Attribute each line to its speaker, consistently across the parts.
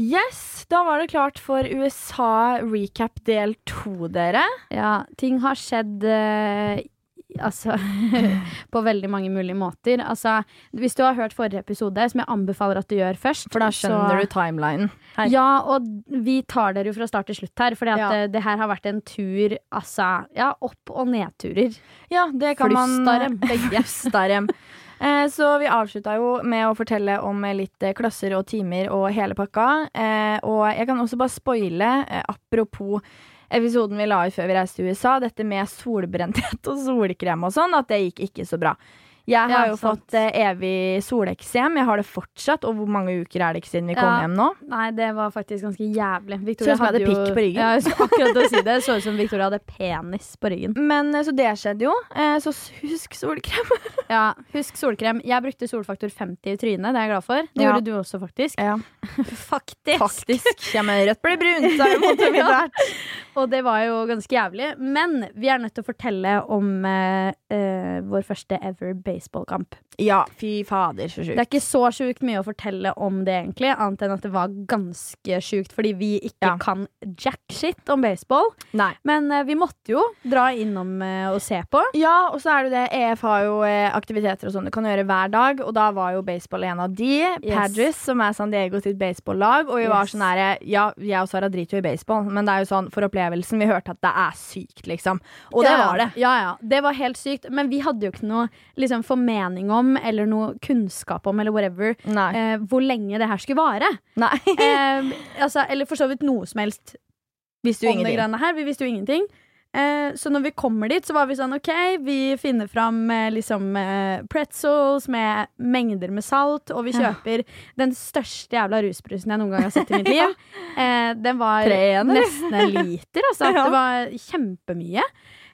Speaker 1: Yes, da var det klart for USA recap del to, dere.
Speaker 2: Ja, ting har skjedd eh, altså, på veldig mange mulige måter. Altså, hvis du har hørt forrige episode, som jeg anbefaler at du gjør først
Speaker 1: For da skjønner du timelinen. her.
Speaker 2: Ja, og vi tar dere jo fra start til slutt her, for
Speaker 1: Ja.
Speaker 2: det her har vært en tur, altså Ja, opp- og nedturer.
Speaker 1: Ja, det kan
Speaker 2: Flusstarem,
Speaker 1: man Flusstarem. Eh, Så vi avslutta jo med å fortelle om eh, litt eh, klasser og timer og hele pakka. Eh, Og jeg kan også bare spoile, eh, apropos episoden vi la ut før vi reiste til USA, dette med solbrenthet og solkrem og sånn, at det gikk ikke så bra. Jeg har
Speaker 2: Ja,
Speaker 1: jo
Speaker 2: sant.
Speaker 1: fått eh, evig soleksem. Jeg har det fortsatt. Og hvor mange uker er det ikke siden vi kom
Speaker 2: Ja.
Speaker 1: hjem nå?
Speaker 2: Nei, det var faktisk ganske jævlig.
Speaker 1: Så ut
Speaker 2: Victoria
Speaker 1: som jeg hadde pikk på ryggen.
Speaker 2: Ja, jeg skulle akkurat å si det. Så ut som Victoria hadde penis på ryggen.
Speaker 1: Men eh, Så det skjedde jo. Eh, Så husk solkrem.
Speaker 2: Ja, Husk solkrem. Jeg brukte solfaktor 50 i trynet. Det er jeg glad for. Det
Speaker 1: Ja.
Speaker 2: gjorde du også, faktisk.
Speaker 1: Ja,
Speaker 2: Faktisk.
Speaker 1: faktisk. Ja, men rødt blir brunt. Så er det mot det
Speaker 2: Ja.
Speaker 1: videre.
Speaker 2: Og det var jo ganske jævlig. Men vi er nødt til å fortelle om eh, eh, vår første ever baseballkamp.
Speaker 1: Ja, fy fader, så sjukt.
Speaker 2: Det er ikke så sjukt mye å fortelle om det, egentlig, annet enn at det var ganske sjukt, fordi vi ikke
Speaker 1: Ja.
Speaker 2: kan jack shit om baseball.
Speaker 1: Nei.
Speaker 2: Men eh, vi måtte jo dra innom eh, og se på.
Speaker 1: Ja, og så er det jo det. EF har jo eh, aktiviteter og sånn du kan gjøre hver dag, og da var jo baseball en av de. Padres, som er San Diego sitt baseballag, og vi var
Speaker 2: Yes.
Speaker 1: sånn herre Ja, jeg og Sara driter jo i baseball, men det er jo sånn for opplevelsen. Vi hørte at det er sykt, liksom. Og det
Speaker 2: Ja, ja.
Speaker 1: var det.
Speaker 2: Ja, ja. Det var helt sykt. Men vi hadde jo ikke noe liksom, formening om, eller noe kunnskap om, eller whatever,
Speaker 1: Nei.
Speaker 2: eh, hvor lenge det her skulle vare.
Speaker 1: Nei.
Speaker 2: Eh, altså, eller for så vidt noe som helst
Speaker 1: Visste jo
Speaker 2: om det
Speaker 1: ingenting.
Speaker 2: greiene her. Vi visste jo ingenting. Eh, så når vi kommer dit, så var vi sånn OK, vi finner fram eh, liksom eh, pretzels med mengder med salt, og vi
Speaker 1: Ja.
Speaker 2: kjøper den største jævla rusbrusen jeg noen gang har sett i mitt liv. eh, den var
Speaker 1: Tre igjen, eller?
Speaker 2: nesten en liter, altså.
Speaker 1: Ja.
Speaker 2: Det var kjempemye.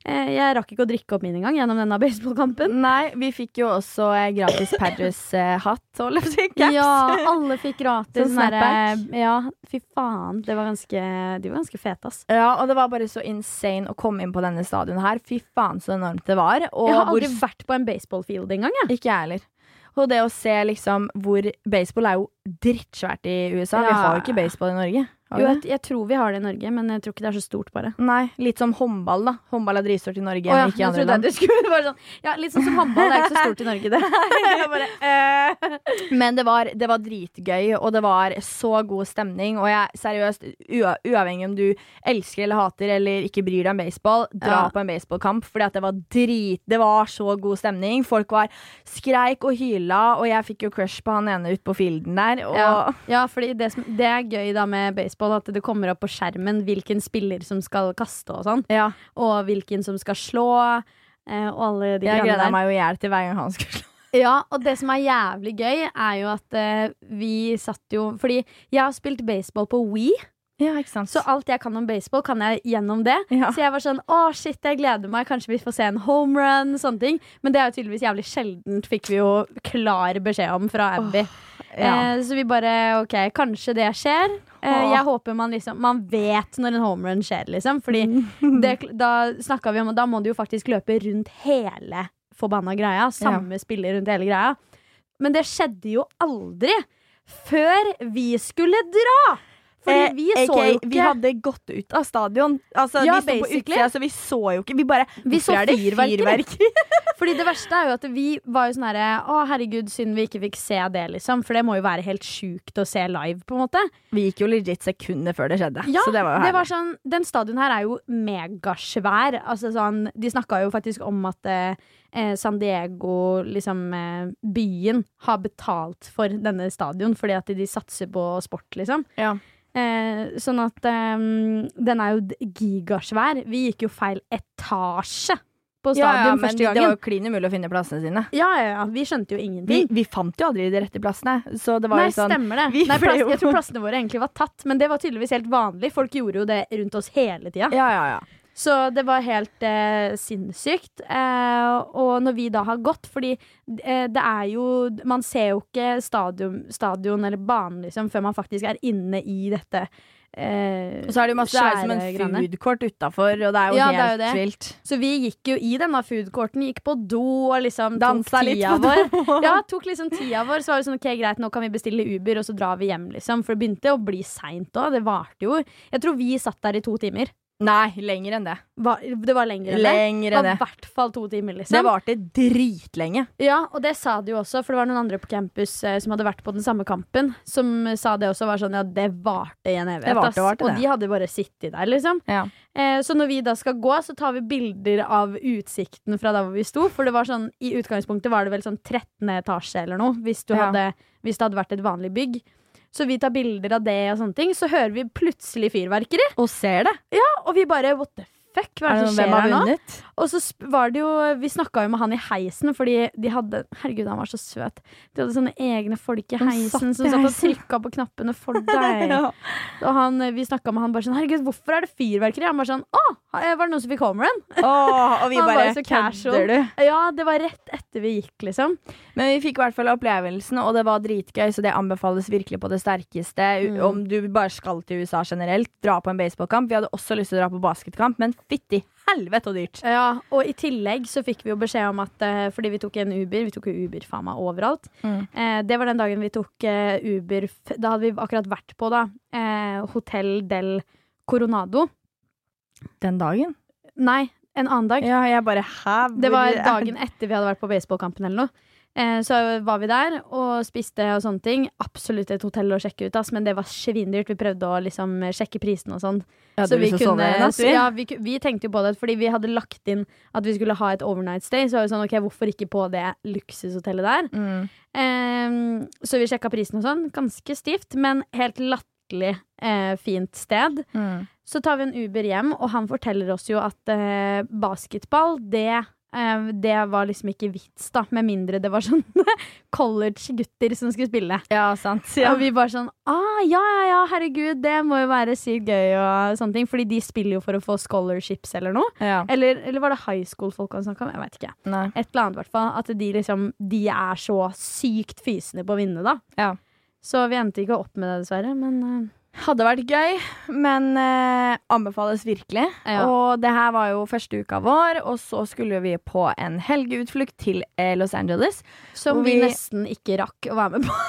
Speaker 2: Eh, jeg rakk ikke å drikke opp min engang gjennom denne baseballkampen.
Speaker 1: Nei, vi fikk jo også eh, gratis eh, Padres-hatt, holdt jeg på å si. Caps.
Speaker 2: Ja, alle fikk gratis.
Speaker 1: Sånn
Speaker 2: sånn derre-
Speaker 1: snapback.
Speaker 2: Ja, fy faen. Det var ganske, de var ganske fete, ass.
Speaker 1: Ja, og det var bare så insane å komme inn på denne stadion her. Fy faen, så enormt det var. Og
Speaker 2: Jeg har
Speaker 1: hvor
Speaker 2: aldri vært på en baseballfield engang. jeg.
Speaker 1: Ikke jeg heller. Og det å se liksom hvor Baseball er jo drittsvært i USA. Vi
Speaker 2: Ja.
Speaker 1: har jo ikke baseball i Norge. Har
Speaker 2: Jo,
Speaker 1: vi
Speaker 2: jeg,
Speaker 1: det?
Speaker 2: jeg tror vi har det i Norge, men jeg tror ikke det er så stort, bare.
Speaker 1: Nei, litt som håndball, da. Håndball er dritstort i Norge,
Speaker 2: Å ja,
Speaker 1: men ikke i
Speaker 2: jeg
Speaker 1: andre
Speaker 2: trodde
Speaker 1: land.
Speaker 2: at du skulle bare sånn Ja, Litt sånn som håndball, det er ikke så stort i Norge, det.
Speaker 1: Jeg bare, eh. Men det var, det var dritgøy, og det var så god stemning. Og jeg, seriøst, ua- uavhengig om du elsker eller hater eller ikke bryr deg om baseball, dra
Speaker 2: Ja.
Speaker 1: på en baseballkamp, fordi at det var drit Det var så god stemning. Folk var skreik og hyla, og jeg fikk jo crush på han ene ute på fielden der. Og
Speaker 2: Ja, ja fordi det, som, det er gøy da med baseball, at det kommer opp på skjermen hvilken spiller som skal kaste og sånn,
Speaker 1: ja.
Speaker 2: og hvilken som skal slå, eh, og alle de
Speaker 1: Jeg
Speaker 2: greiene
Speaker 1: gleda
Speaker 2: der.
Speaker 1: meg jo i hjel til hver gang han skulle slå.
Speaker 2: Ja, og det som er jævlig gøy, er jo at eh, vi satt jo Fordi jeg har spilt baseball på We,
Speaker 1: Ja, ikke sant?
Speaker 2: så alt jeg kan om baseball, kan jeg gjennom det.
Speaker 1: ja.
Speaker 2: Så jeg var sånn Å, shit, jeg gleder meg. Kanskje vi får se en home run. Sånne ting. Men det er jo tydeligvis jævlig sjeldent, fikk vi jo klar beskjed om fra Abby. eh, så vi bare OK, kanskje det skjer. Eh,
Speaker 1: Åh.
Speaker 2: jeg håper man liksom Man vet når en home run skjer, liksom. Fordi det, da snakka vi om at da må du jo faktisk løpe rundt hele forbanna greia. Samme spiller rundt hele greia. Men det skjedde jo aldri før vi skulle dra! Fordi vi
Speaker 1: Eh,
Speaker 2: så
Speaker 1: aka,
Speaker 2: jo ikke
Speaker 1: Vi hadde gått ut av stadion. Altså,
Speaker 2: Ja,
Speaker 1: vi sto på
Speaker 2: basically.
Speaker 1: utsida, så vi så jo ikke. Vi bare
Speaker 2: Vi så
Speaker 1: Hvorfor er det
Speaker 2: fyrverkeri.
Speaker 1: fyrverkeri?
Speaker 2: Fordi det verste er jo at vi var jo sånn herre Å, herregud, synd vi ikke fikk se det, liksom. For det må jo være helt sjukt å se live, på en måte.
Speaker 1: Vi gikk jo legit sekunder før det skjedde.
Speaker 2: Ja,
Speaker 1: så det var jo
Speaker 2: det
Speaker 1: herlig.
Speaker 2: var sånn, Den stadion her er jo megasvær. Altså sånn, de snakka jo faktisk om at eh, eh, San Diego, liksom eh, byen, har betalt for denne stadion fordi at de satser på sport, liksom.
Speaker 1: ja.
Speaker 2: Eh, sånn at eh, den er jo d- gigasvær. Vi gikk jo feil etasje på
Speaker 1: ja,
Speaker 2: stadion
Speaker 1: ja, men
Speaker 2: første
Speaker 1: det var
Speaker 2: gangen.
Speaker 1: jo klin umulig å finne plassene sine.
Speaker 2: Ja, ja, ja. Vi skjønte jo
Speaker 1: Vi,
Speaker 2: ingenting.
Speaker 1: vi fant jo aldri de rette plassene, så det var
Speaker 2: Nei,
Speaker 1: jo sånn
Speaker 2: stemmer det.
Speaker 1: Vi
Speaker 2: Nei,
Speaker 1: ble
Speaker 2: plass,
Speaker 1: jo-
Speaker 2: jeg tror plassene våre egentlig var tatt, men det var tydeligvis helt vanlig. Folk gjorde jo det rundt oss hele tida.
Speaker 1: Ja, ja, ja.
Speaker 2: Så det var helt eh, sinnssykt. Eh, og når vi da har gått Fordi eh, det er jo Man ser jo ikke stadion, stadion eller banen liksom, før man faktisk er inne i dette. eh,
Speaker 1: Og så er det jo masse Det er jo som
Speaker 2: Skjære
Speaker 1: en
Speaker 2: greiene.
Speaker 1: foodcourt utafor, og det er jo
Speaker 2: Ja, det er
Speaker 1: helt
Speaker 2: jo det.
Speaker 1: vilt.
Speaker 2: så vi gikk jo i denne foodcourten, gikk på do og liksom
Speaker 1: Dansa
Speaker 2: tok
Speaker 1: litt på
Speaker 2: tida vår.
Speaker 1: do.
Speaker 2: Ja, tok liksom tida vår. Så var det sånn, ok, greit, nå kan vi bestille Uber, og så drar vi hjem, liksom. For det begynte å bli seint òg. Det varte jo. Jeg tror vi satt der i to timer.
Speaker 1: Nei, lenger enn det.
Speaker 2: Var- Det var lenger enn det. Det
Speaker 1: Lenger enn
Speaker 2: var
Speaker 1: det.
Speaker 2: i hvert fall to timer, liksom.
Speaker 1: Det varte dritlenge.
Speaker 2: Ja, og det sa de jo også, for det var noen andre på campus eh, som hadde vært på den samme kampen, som sa det også var sånn, ja, det varte i en evighet.
Speaker 1: Det varte,
Speaker 2: ass.
Speaker 1: varte
Speaker 2: og
Speaker 1: det.
Speaker 2: de hadde bare sittet der, liksom.
Speaker 1: Ja.
Speaker 2: Eh, så når vi da skal gå, så tar vi bilder av utsikten fra der hvor vi sto, for det var sånn, i utgangspunktet var det vel sånn 13. etasje eller noe, hvis, du
Speaker 1: Ja.
Speaker 2: hadde, hvis det hadde vært et vanlig bygg. Så vi tar bilder av det og sånne ting, så hører vi plutselig fyrverkeri,
Speaker 1: Og ser det.
Speaker 2: og vi bare, what the fuck, hva
Speaker 1: Er
Speaker 2: er
Speaker 1: det
Speaker 2: det
Speaker 1: noen
Speaker 2: som skjer
Speaker 1: hvem har
Speaker 2: her nå?
Speaker 1: vunnet?
Speaker 2: Og så sp- var det jo Vi snakka jo med han i heisen, fordi de hadde Herregud, han var så søt. De hadde sånne egne folk i
Speaker 1: Han
Speaker 2: heisen
Speaker 1: satt i
Speaker 2: som satt og
Speaker 1: heisen.
Speaker 2: trykka på knappene for deg. Og han, vi snakka med han bare sånn Herregud, hvorfor er det fyrverkeri? Han bare sånn Å, var det noen som fikk home run?
Speaker 1: Åh, og vi
Speaker 2: Han
Speaker 1: bare
Speaker 2: var så casual.
Speaker 1: kødder du?
Speaker 2: Ja, det var rett etter vi gikk, liksom.
Speaker 1: Men vi fikk i hvert fall opplevelsen, og det var dritgøy, så det anbefales virkelig på det sterkeste. U-
Speaker 2: Mm.
Speaker 1: Om du bare skal til USA generelt, dra på en baseballkamp. Vi hadde også lyst til å dra på basketkamp, men fytti helvete og dyrt.
Speaker 2: Ja, Og i tillegg så fikk vi jo beskjed om at eh, fordi vi tok en Uber Vi tok jo Uber faen meg overalt.
Speaker 1: Mm.
Speaker 2: Eh, det var den dagen vi tok eh, Uber f- Da hadde vi akkurat vært på, da. Eh, Hotell del Coronado.
Speaker 1: Den dagen?
Speaker 2: Nei, en annen dag.
Speaker 1: Ja, jeg bare hæ?
Speaker 2: Det
Speaker 1: hvor
Speaker 2: var
Speaker 1: er-
Speaker 2: dagen etter vi hadde vært på baseballkampen eller noe. Eh, Så var vi der og spiste og sånne ting. Absolutt et hotell å sjekke ut, ass, men det var svindyrt. Vi prøvde å liksom sjekke prisen og sånn.
Speaker 1: Ja, liksom
Speaker 2: Så
Speaker 1: du
Speaker 2: vi,
Speaker 1: ville sove
Speaker 2: kunne,
Speaker 1: en natt, vi.
Speaker 2: ja, vi, ku- vi tenkte jo på det fordi vi hadde lagt inn at vi skulle ha et overnight stay. Så var vi sånn, ok, hvorfor ikke på det luksushotellet der?
Speaker 1: Mm.
Speaker 2: Ehm, så vi sjekka prisen og sånn. Ganske stivt, men helt latterlig eh, fint sted.
Speaker 1: Mm.
Speaker 2: Så tar vi en Uber hjem, og han forteller oss jo at eh, basketball, det, eh, det var liksom ikke vits, da. Med mindre det var sånne college-gutter som skulle spille.
Speaker 1: ja, sant. Ja.
Speaker 2: Og vi bare sånn ah, ja, ja, ja, herregud, det må jo være sykt gøy og sånne ting. Fordi de spiller jo for å få scholarships eller noe.
Speaker 1: ja.
Speaker 2: Eller, eller var det high school-folk han snakka om? Jeg veit ikke.
Speaker 1: Nei.
Speaker 2: Et eller annet, i hvert fall. At de liksom De er så sykt fysende på å vinne, da.
Speaker 1: Ja.
Speaker 2: Så vi endte ikke opp med det, dessverre. Men eh,
Speaker 1: Hadde vært gøy, men eh, anbefales virkelig.
Speaker 2: eh, ja.
Speaker 1: Og det her var jo første uka vår, og så skulle vi på en helgeutflukt til eh, Los Angeles.
Speaker 2: Som
Speaker 1: og
Speaker 2: vi,
Speaker 1: vi-
Speaker 2: nesten ikke rakk å være med på.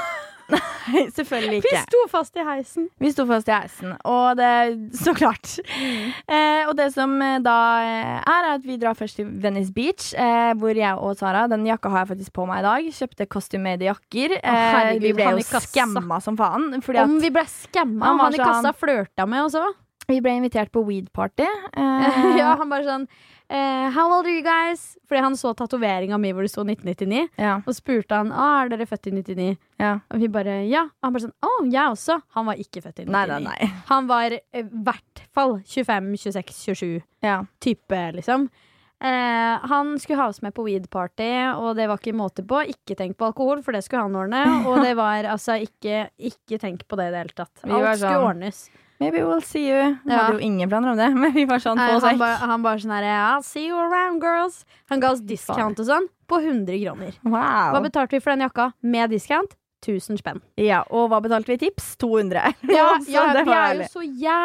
Speaker 1: Selvfølgelig ikke.
Speaker 2: sto fast i heisen.
Speaker 1: Vi sto fast i heisen, og det så klart.
Speaker 2: Mm.
Speaker 1: Eh, og det som eh, da eh, er, er at vi drar først til Venice Beach, eh, hvor jeg og Sara Den jakka har jeg faktisk på meg i dag. Kjøpte custom-made jakker. Eh,
Speaker 2: herregud,
Speaker 1: vi ble
Speaker 2: han i
Speaker 1: jo
Speaker 2: kassa.
Speaker 1: skamma som faen. Fordi
Speaker 2: Om
Speaker 1: at
Speaker 2: vi ble skamma.
Speaker 1: Han
Speaker 2: Han,
Speaker 1: var
Speaker 2: i
Speaker 1: sånn-
Speaker 2: kassa flørta med oss òg.
Speaker 1: vi ble invitert på weed-party. Eh,
Speaker 2: ja, han bare sånn eh, How old are you guys? Fordi han så tatoveringa mi hvor det sto 1999.
Speaker 1: ja,
Speaker 2: Og spurte han ah, er dere født i 99.
Speaker 1: ja.
Speaker 2: Og vi bare ja. Og han bare sånn å, jeg også. Han var ikke født i 99.
Speaker 1: Nei, nei, nei.
Speaker 2: Han var i hvert fall 25, 26, 27
Speaker 1: Ja.
Speaker 2: type, liksom. Eh, han skulle ha oss med på weed-party, og det var ikke måte på. Ikke tenk på alkohol, for det skulle han ordne. Og det var altså ikke Ikke tenk på det i det hele tatt.
Speaker 1: Vi var
Speaker 2: Alt skulle
Speaker 1: sånn,
Speaker 2: ordnes.
Speaker 1: Maybe we'll see you. Vi
Speaker 2: Ja.
Speaker 1: hadde jo ingen planer om det, men vi var sånn
Speaker 2: Nei,
Speaker 1: på oss
Speaker 2: Eh, han,
Speaker 1: vekk.
Speaker 2: bare, han bare sånn her ja, See you around, girls. Han ga oss discount og sånn på 100 kroner. Hva
Speaker 1: Wow.
Speaker 2: betalte vi for den jakka med discount? 1000 spenn.
Speaker 1: Ja, og hva betalte vi i tips? 200.
Speaker 2: Ja,
Speaker 1: Så
Speaker 2: ja,
Speaker 1: det
Speaker 2: vi
Speaker 1: var
Speaker 2: er jo
Speaker 1: ærlig.
Speaker 2: så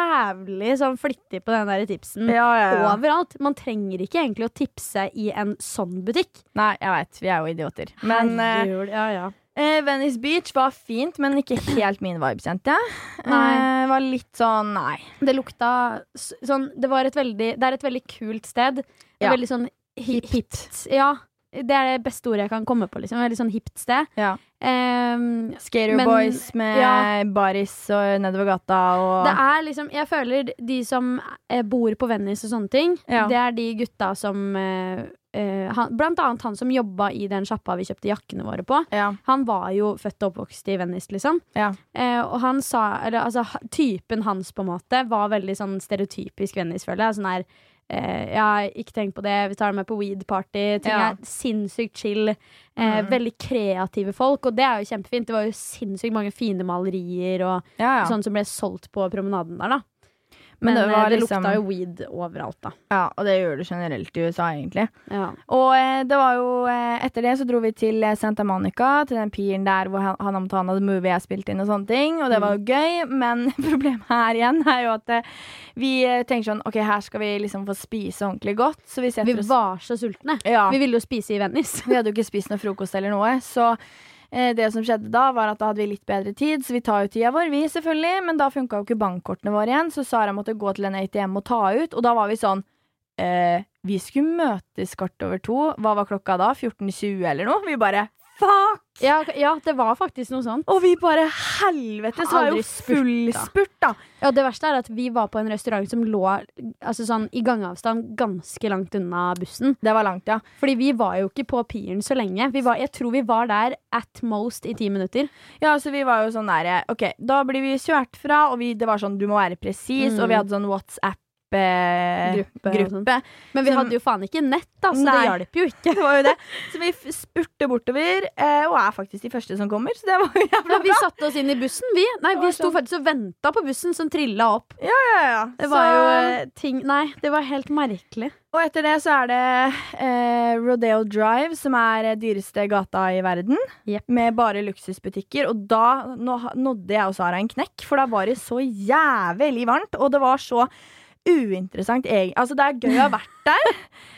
Speaker 2: jævlig sånn flittig på den der tipsen.
Speaker 1: ja, ja, ja.
Speaker 2: Overalt. Man trenger ikke egentlig å tipse i en sånn butikk.
Speaker 1: Nei, jeg veit. Vi er jo idioter. Men eh,
Speaker 2: Herregud, ja, ja.
Speaker 1: Eh, Venice Beach var fint, men ikke helt min vibe, kjente jeg.
Speaker 2: Nei.
Speaker 1: Eh, var litt sånn nei.
Speaker 2: Det lukta s- sånn Det var et veldig Det er et veldig kult sted. Det er
Speaker 1: Ja.
Speaker 2: Veldig sånn hi- hipt. Ja. Det er det beste ordet jeg kan komme på. Liksom. Veldig sånn hipt sted.
Speaker 1: Ja.
Speaker 2: Ehm,
Speaker 1: Skater
Speaker 2: Men-
Speaker 1: Boys med
Speaker 2: ja.
Speaker 1: baris og nedover gata og
Speaker 2: det er liksom Jeg føler de som eh, bor på Venice og sånne ting,
Speaker 1: Ja.
Speaker 2: det er de gutta som eh, eh, han, Blant annet han som jobba i den sjappa vi kjøpte jakkene våre på.
Speaker 1: ja.
Speaker 2: Han var jo født og oppvokst i Venice, liksom.
Speaker 1: Ja.
Speaker 2: Eh, og han sa eller, altså, ha- Typen hans på en måte var veldig sånn stereotypisk Venice, føler jeg. Sånn her eh, Ja, ikke tenk på det, vi tar det med på weed-party. Ting
Speaker 1: Ja.
Speaker 2: er sinnssykt chill. Eh, Veldig kreative folk, og det er jo kjempefint. Det var jo sinnssykt mange fine malerier og
Speaker 1: Ja, ja.
Speaker 2: sånn som ble solgt på promenaden der, da. Men,
Speaker 1: det
Speaker 2: eh,
Speaker 1: var
Speaker 2: det
Speaker 1: liksom-
Speaker 2: lukta jo weed overalt, da.
Speaker 1: Ja, og det gjør det generelt i USA, egentlig.
Speaker 2: Ja.
Speaker 1: Og eh, det var jo eh, etter det så dro vi til eh, Santa Monica, til den piren der hvor han- Hannah Montana The Movie er spilt inn og sånne ting, og det var
Speaker 2: Mm.
Speaker 1: jo gøy, men problemet her igjen er jo at eh, vi eh, tenker sånn OK, her skal vi liksom få spise ordentlig godt, så vi
Speaker 2: Vi
Speaker 1: setter oss
Speaker 2: var så sultne.
Speaker 1: ja.
Speaker 2: Vi ville jo spise i Venice.
Speaker 1: Vi hadde jo ikke spist noe frokost eller noe, så eh, det som skjedde da, var at da hadde vi litt bedre tid, så vi tar jo tida vår, vi selvfølgelig, men da funka jo ikke bankkortene våre igjen, så Sara måtte gå til en ATM og ta ut, og da var vi sånn eh, Vi skulle møtes kvart over to, hva var klokka da? 14.20 eller noe? Vi bare Fuck!
Speaker 2: Ja, ja, det var faktisk noe sånt.
Speaker 1: Og vi bare Helvete! Så var det
Speaker 2: Aldri
Speaker 1: jo
Speaker 2: spurt,
Speaker 1: full
Speaker 2: da.
Speaker 1: spurt, da.
Speaker 2: Ja, det verste er at vi var på en restaurant som lå altså sånn, i gangavstand ganske langt unna bussen.
Speaker 1: Det var langt, ja.
Speaker 2: Fordi vi var jo ikke på piren så lenge. Vi var, jeg tror vi var der at most i ti minutter.
Speaker 1: Ja, så vi var jo sånn der Ok, da blir vi kjørt fra, og vi, det var sånn du må være presis,
Speaker 2: Mm.
Speaker 1: og vi hadde sånn eh, WhatsApp-gruppe.
Speaker 2: Gruppe og sånn. Men vi
Speaker 1: Som-
Speaker 2: hadde jo faen ikke nett, da, så
Speaker 1: Nei.
Speaker 2: det hjalp jo ikke.
Speaker 1: Det var jo det. Så vi f- spurte bortover, eh, og er faktisk de første som kommer. Så det var jo jævla
Speaker 2: Ja, vi
Speaker 1: bra.
Speaker 2: satte oss inn i bussen, vi. Nei,
Speaker 1: Det
Speaker 2: vi
Speaker 1: var
Speaker 2: sto
Speaker 1: sånn.
Speaker 2: faktisk og venta på bussen som trilla opp.
Speaker 1: Ja, ja.
Speaker 2: Det
Speaker 1: Så-
Speaker 2: var jo eh, ting Nei, det var helt merkelig.
Speaker 1: Og etter det så er det eh, Rodeo Drive, som er eh, dyreste gata i verden.
Speaker 2: Jepp.
Speaker 1: Med bare luksusbutikker. Og da nå, ha- nådde jeg og Sara en knekk, for da var det så jævlig varmt, og det var så uinteressant eg- Altså, det er gøy å ha vært der,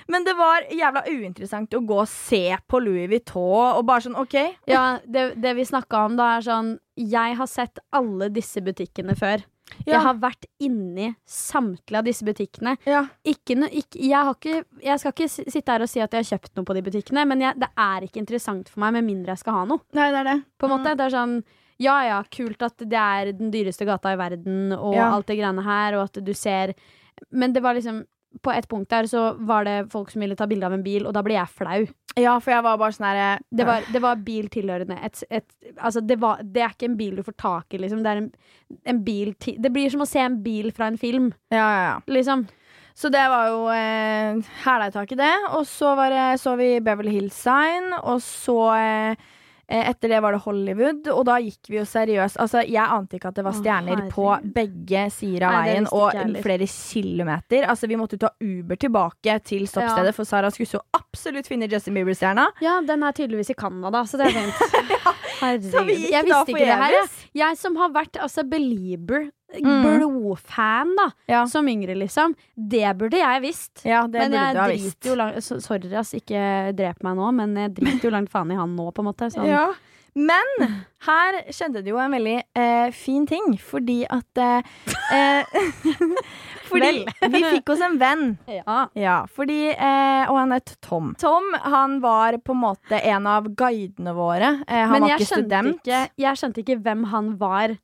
Speaker 1: men det var jævla uinteressant å gå og se på Louis Vuitton og bare sånn, OK,
Speaker 2: Ja, det, det vi snakka om da, er sånn Jeg har sett alle disse butikkene før.
Speaker 1: Ja.
Speaker 2: Jeg har vært inni samtlige av disse butikkene.
Speaker 1: ja.
Speaker 2: Ikke no, ikke, jeg, har ikke, jeg skal ikke si- sitte her og si at jeg har kjøpt noe på de butikkene, men jeg, det er ikke interessant for meg med mindre jeg skal ha noe.
Speaker 1: Nei, det er det.
Speaker 2: På en måte, det er sånn ja ja, kult at det er den dyreste gata i verden og
Speaker 1: Ja.
Speaker 2: alt det greiene her, og at du ser Men det var liksom På et punkt der så var det folk som ville ta bilde av en bil, og da ble jeg flau.
Speaker 1: Ja, for jeg var bare sånn herre
Speaker 2: Det var, det var bil tilhørende et, et, altså det, var, det er ikke en bil du får tak i, liksom. Det, er en, en bil ti, det blir som å se en bil fra en film,
Speaker 1: Ja, ja, ja.
Speaker 2: liksom.
Speaker 1: Så det var jo eh, hæla i tak i det. Og så var det, så vi Beverly Hills Sign, og så eh, eh, etter det var det Hollywood, og da gikk vi jo seriøst Altså, jeg ante ikke at det var
Speaker 2: Å,
Speaker 1: stjerner på
Speaker 2: herregud.
Speaker 1: begge sider av
Speaker 2: Nei, det
Speaker 1: veien
Speaker 2: visste ikke jeg
Speaker 1: og
Speaker 2: heller.
Speaker 1: flere kilometer. Altså, vi måtte jo ta Uber tilbake til stoppstedet,
Speaker 2: Ja.
Speaker 1: for Sara skulle så absolutt finne Justin Bieber-stjerna.
Speaker 2: Ja, den er tydeligvis i Canada, så det er fint. Herregud.
Speaker 1: Så vi gikk da
Speaker 2: Jeg visste ikke det her. Jeg,
Speaker 1: forgjeves.
Speaker 2: jeg som har vært altså, belieber,
Speaker 1: Mm.
Speaker 2: blodfan, da,
Speaker 1: Ja.
Speaker 2: som yngre, liksom. Det burde jeg visst.
Speaker 1: Ja, det
Speaker 2: Men
Speaker 1: burde
Speaker 2: jeg
Speaker 1: du ha
Speaker 2: driter
Speaker 1: visst.
Speaker 2: jo langt så- Sorry, ass, ikke drep meg nå, men jeg driter jo langt faen i han nå, på en måte. Sånn.
Speaker 1: Ja. Men her skjedde det jo en veldig eh, fin ting, fordi at eh, eh, Fordi vi fikk oss en venn.
Speaker 2: Ja.
Speaker 1: Ja, fordi eh, Og han het Tom. Tom han var på en måte en av guidene våre. Eh, han
Speaker 2: Men
Speaker 1: var
Speaker 2: jeg
Speaker 1: ikke
Speaker 2: skjønte
Speaker 1: student.
Speaker 2: ikke, jeg skjønte ikke hvem han var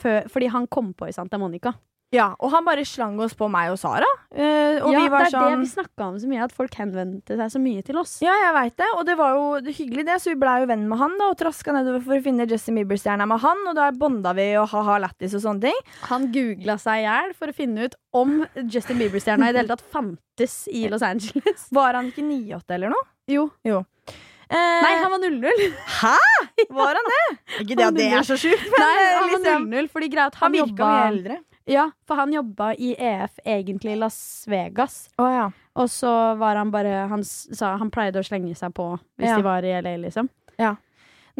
Speaker 2: før, fordi han kom på i Santa Monica.
Speaker 1: Ja, og han bare slang oss på meg og Sara. Eh, og
Speaker 2: ja,
Speaker 1: vi var
Speaker 2: det er det
Speaker 1: sånn
Speaker 2: vi snakka om så mye, at folk henvendte seg så mye til oss.
Speaker 1: ja, jeg veit det, og det var jo hyggelig, det, så vi blei jo venn med han da, og traska nedover for å finne Justin Bieber-stjerna med han, og da bonda vi og ha-ha lættis og sånne ting.
Speaker 2: Han googla seg i hjel for å finne ut om Justin Bieber-stjerna i det hele tatt fantes i Los Angeles.
Speaker 1: Var han ikke 98 eller noe?
Speaker 2: Jo.
Speaker 1: Eh,
Speaker 2: Nei, han var 00.
Speaker 1: Hæ?! Var han det? Ikke det at det er så sjukt, men
Speaker 2: Nei, han var
Speaker 1: liksom,
Speaker 2: 00 fordi greia er at
Speaker 1: han
Speaker 2: han
Speaker 1: virka
Speaker 2: jobba
Speaker 1: mye eldre.
Speaker 2: Ja, for han jobba i EF, egentlig i Las Vegas.
Speaker 1: Å ja.
Speaker 2: Og så var han bare Han, s- sa, han pleide å slenge seg på hvis
Speaker 1: Ja.
Speaker 2: de var i LA, liksom.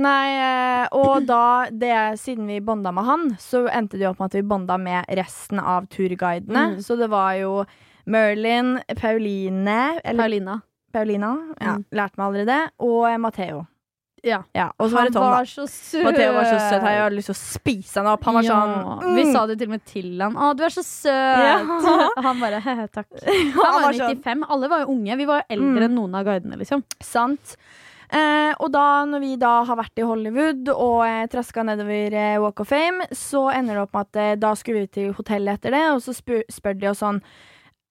Speaker 1: Nei, eh, og da det, siden vi bonda med han, så endte det jo opp med at vi bonda med resten av turguidene.
Speaker 2: Mm.
Speaker 1: Så det var jo Merlin, Pauline Eller
Speaker 2: Paulina.
Speaker 1: Paulina, ja,
Speaker 2: Mm.
Speaker 1: lærte meg aldri det. Og eh, Matteo.
Speaker 2: Ja.
Speaker 1: og så var det Tom, da.
Speaker 2: så søt.
Speaker 1: Matteo var så søt. Jeg hadde lyst til å spise han opp. Han var
Speaker 2: Ja,
Speaker 1: sånn mm.
Speaker 2: Vi sa det til og med til han. Å, du er så søt!
Speaker 1: Ja.
Speaker 2: Han bare he-he, takk.
Speaker 1: Han
Speaker 2: Han var
Speaker 1: var sånn,
Speaker 2: 95. Alle var jo unge. Vi var jo eldre
Speaker 1: Mm.
Speaker 2: enn noen av guidene, liksom.
Speaker 1: Sant. Eh, og da, når vi da har vært i Hollywood og eh, traska nedover eh, Walk of Fame, så ender det opp med at eh, da skulle vi til hotellet etter det, og så spør, spør de oss sånn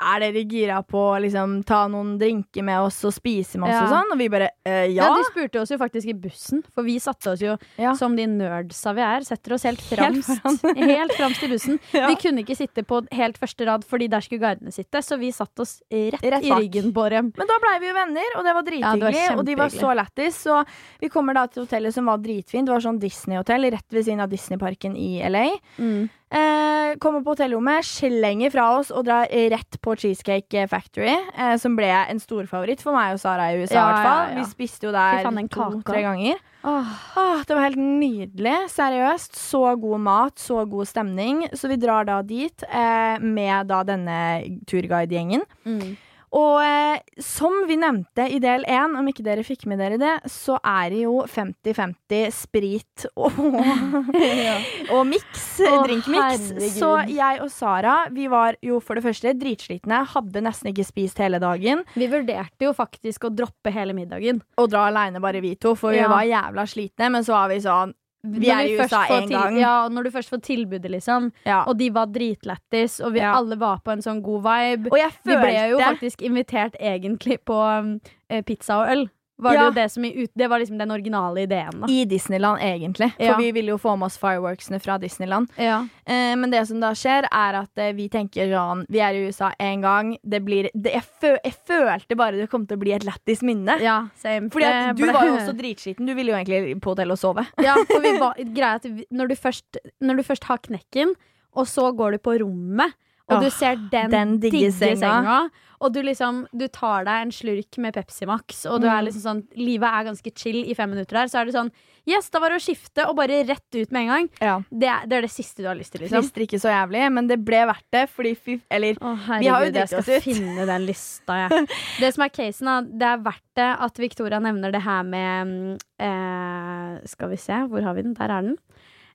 Speaker 1: Er dere gira på å liksom, ta noen drinker med oss og spise med oss
Speaker 2: Ja.
Speaker 1: og sånn? Og vi bare eh,
Speaker 2: Ja.
Speaker 1: ja.
Speaker 2: De spurte oss jo faktisk i bussen, for vi satte oss jo
Speaker 1: Ja.
Speaker 2: som de nerdsa vi er. Setter oss helt
Speaker 1: Helt
Speaker 2: framst.
Speaker 1: foran.
Speaker 2: Helt framst i bussen.
Speaker 1: Ja.
Speaker 2: Vi kunne ikke sitte på helt første rad, fordi der skulle guidene sitte, så vi satte oss rett,
Speaker 1: Rett
Speaker 2: i
Speaker 1: bak.
Speaker 2: ryggen på dem.
Speaker 1: Men da blei vi jo venner, og det var
Speaker 2: Ja, det var
Speaker 1: drithyggelig. og de var
Speaker 2: kjempehyggelig.
Speaker 1: så lættis. Så vi kommer da til
Speaker 2: Mm.
Speaker 1: hotellet som var dritfint. Det var sånn Disney-hotell rett ved siden av Disneyparken i LA. Eh, eh, kommer på hotellrommet, slenger fra oss og drar rett på Cheesecake Factory, eh, som ble en storfavoritt for meg og Sara i USA.
Speaker 2: Ja,
Speaker 1: i hvert fall.
Speaker 2: ja, ja.
Speaker 1: Vi spiste jo
Speaker 2: Fy
Speaker 1: der
Speaker 2: faen, den kaka.
Speaker 1: to-tre ganger.
Speaker 2: Åh.
Speaker 1: Åh, det var helt nydelig. Seriøst. Så god mat, så god stemning. Så vi drar da dit eh, med da denne turguidegjengen.
Speaker 2: Mm.
Speaker 1: Og eh, som vi nevnte i del én, om ikke dere fikk med dere det, så er det jo 50-50 sprit og, og miks.
Speaker 2: Å,
Speaker 1: Drinkmiks.
Speaker 2: herregud.
Speaker 1: Så jeg og Sara vi var jo for det første dritslitne, hadde nesten ikke spist hele dagen.
Speaker 2: Vi vurderte jo faktisk å droppe hele middagen.
Speaker 1: Og dra aleine bare vi to, for
Speaker 2: Ja.
Speaker 1: vi var jævla slitne. Men så var vi sånn Vi
Speaker 2: Når
Speaker 1: er i
Speaker 2: først
Speaker 1: USA
Speaker 2: får
Speaker 1: én
Speaker 2: til-
Speaker 1: gang.
Speaker 2: Ja, og når du først får tilbudet, liksom.
Speaker 1: Ja.
Speaker 2: Og de var dritlættis, og vi
Speaker 1: Ja.
Speaker 2: alle var på en sånn god vibe.
Speaker 1: Og jeg
Speaker 2: Vi
Speaker 1: følte
Speaker 2: ble jo faktisk invitert egentlig på um, eh, pizza og øl. Var det,
Speaker 1: Ja.
Speaker 2: jo det, som i ut, det var liksom den originale ideen, da.
Speaker 1: i Disneyland, egentlig. For
Speaker 2: Ja.
Speaker 1: vi ville jo få med oss fireworksene fra Disneyland.
Speaker 2: Ja.
Speaker 1: Eh, men det som da skjer, er at eh, vi tenker sånn Vi er i USA én gang. Det blir det, jeg, fø, jeg følte bare det kom til å bli et lættis minne.
Speaker 2: same.
Speaker 1: Fordi
Speaker 2: Det
Speaker 1: at du
Speaker 2: ble-
Speaker 1: var jo også dritskitten. Du ville jo egentlig på hotellet og sove.
Speaker 2: Ja, for vi var, greia er at vi- når du, først, når du først har knekken, og så går du på rommet, og du
Speaker 1: Åh,
Speaker 2: ser den,
Speaker 1: den digge
Speaker 2: digge senga.
Speaker 1: senga.
Speaker 2: og du liksom Du tar deg en slurk med Pepsi Max, og du
Speaker 1: Mm.
Speaker 2: er liksom sånn Livet er ganske chill i fem minutter der, så er det sånn Yes, da var det å skifte, og bare rett ut med en gang.
Speaker 1: Ja.
Speaker 2: Det er det, er det siste du har lyst til, liksom.
Speaker 1: Frister ikke så jævlig, men det ble verdt det. Fordi fy Eller
Speaker 2: Å,
Speaker 1: Vi har jo
Speaker 2: herregud, jeg
Speaker 1: dritt oss
Speaker 2: skal
Speaker 1: ut.
Speaker 2: finne den lista, jeg. Det som er casen, da, det er verdt det at Victoria nevner det her med mm, eh, Skal vi se, hvor har vi den? Der er den.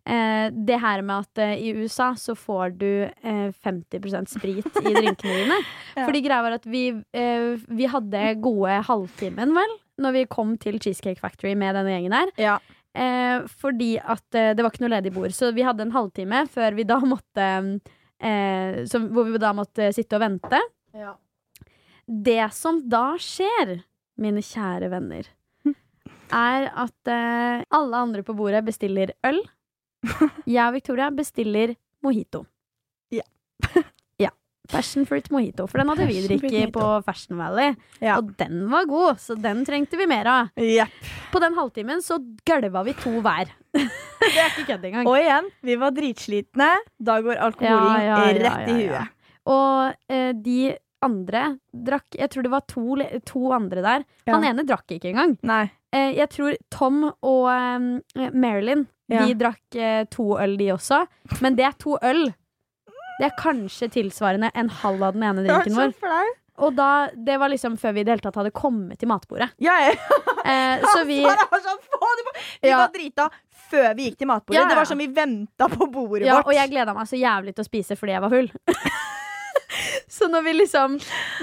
Speaker 2: Eh, det her med at eh, i USA så får du eh, 50 sprit i drinkene dine.
Speaker 1: Ja.
Speaker 2: Fordi greia var at vi, eh, vi hadde gode halvtimen, vel, når vi kom til Cheesecake Factory med denne gjengen her.
Speaker 1: Ja.
Speaker 2: Eh, fordi at eh, det var ikke noe ledig bord. Så vi hadde en halvtime før vi da måtte eh, som, Hvor vi da måtte sitte og vente.
Speaker 1: Ja.
Speaker 2: Det som da skjer, mine kjære venner, er at eh, alle andre på bordet bestiller øl. Jeg og Victoria bestiller mojito.
Speaker 1: Ja.
Speaker 2: ja. Passion fruit mojito. For den hadde vi
Speaker 1: Passion fruit
Speaker 2: drikket på Fashion Valley.
Speaker 1: Ja.
Speaker 2: Og den var god, så den trengte vi mer av.
Speaker 1: Jepp.
Speaker 2: På den halvtimen så gølva vi to hver. det er ikke kødd engang.
Speaker 1: Og igjen, vi var dritslitne. Da går alkoholen
Speaker 2: Ja, ja, ja,
Speaker 1: rett i
Speaker 2: ja, ja.
Speaker 1: huet.
Speaker 2: Og eh, de andre drakk Jeg tror det var to, le- to andre der.
Speaker 1: Ja.
Speaker 2: Han ene drakk ikke engang.
Speaker 1: Nei.
Speaker 2: Eh, jeg tror Tom og eh, Marilyn
Speaker 1: Ja.
Speaker 2: De drakk eh, to øl, de også. Men det er to øl. Det er kanskje tilsvarende en halv av den ene drinken vår.
Speaker 1: flaut.
Speaker 2: Og da, Det var liksom før vi i det hele tatt hadde kommet til matbordet.
Speaker 1: Ja, ja.
Speaker 2: Eh, så vi
Speaker 1: Sara var sånn, få det på Vi
Speaker 2: Ja.
Speaker 1: var drita før vi gikk til matbordet.
Speaker 2: Ja, ja.
Speaker 1: Det var som vi venta på bordet
Speaker 2: Ja,
Speaker 1: vårt.
Speaker 2: og jeg gleda meg så jævlig til å spise fordi jeg var full. så når vi liksom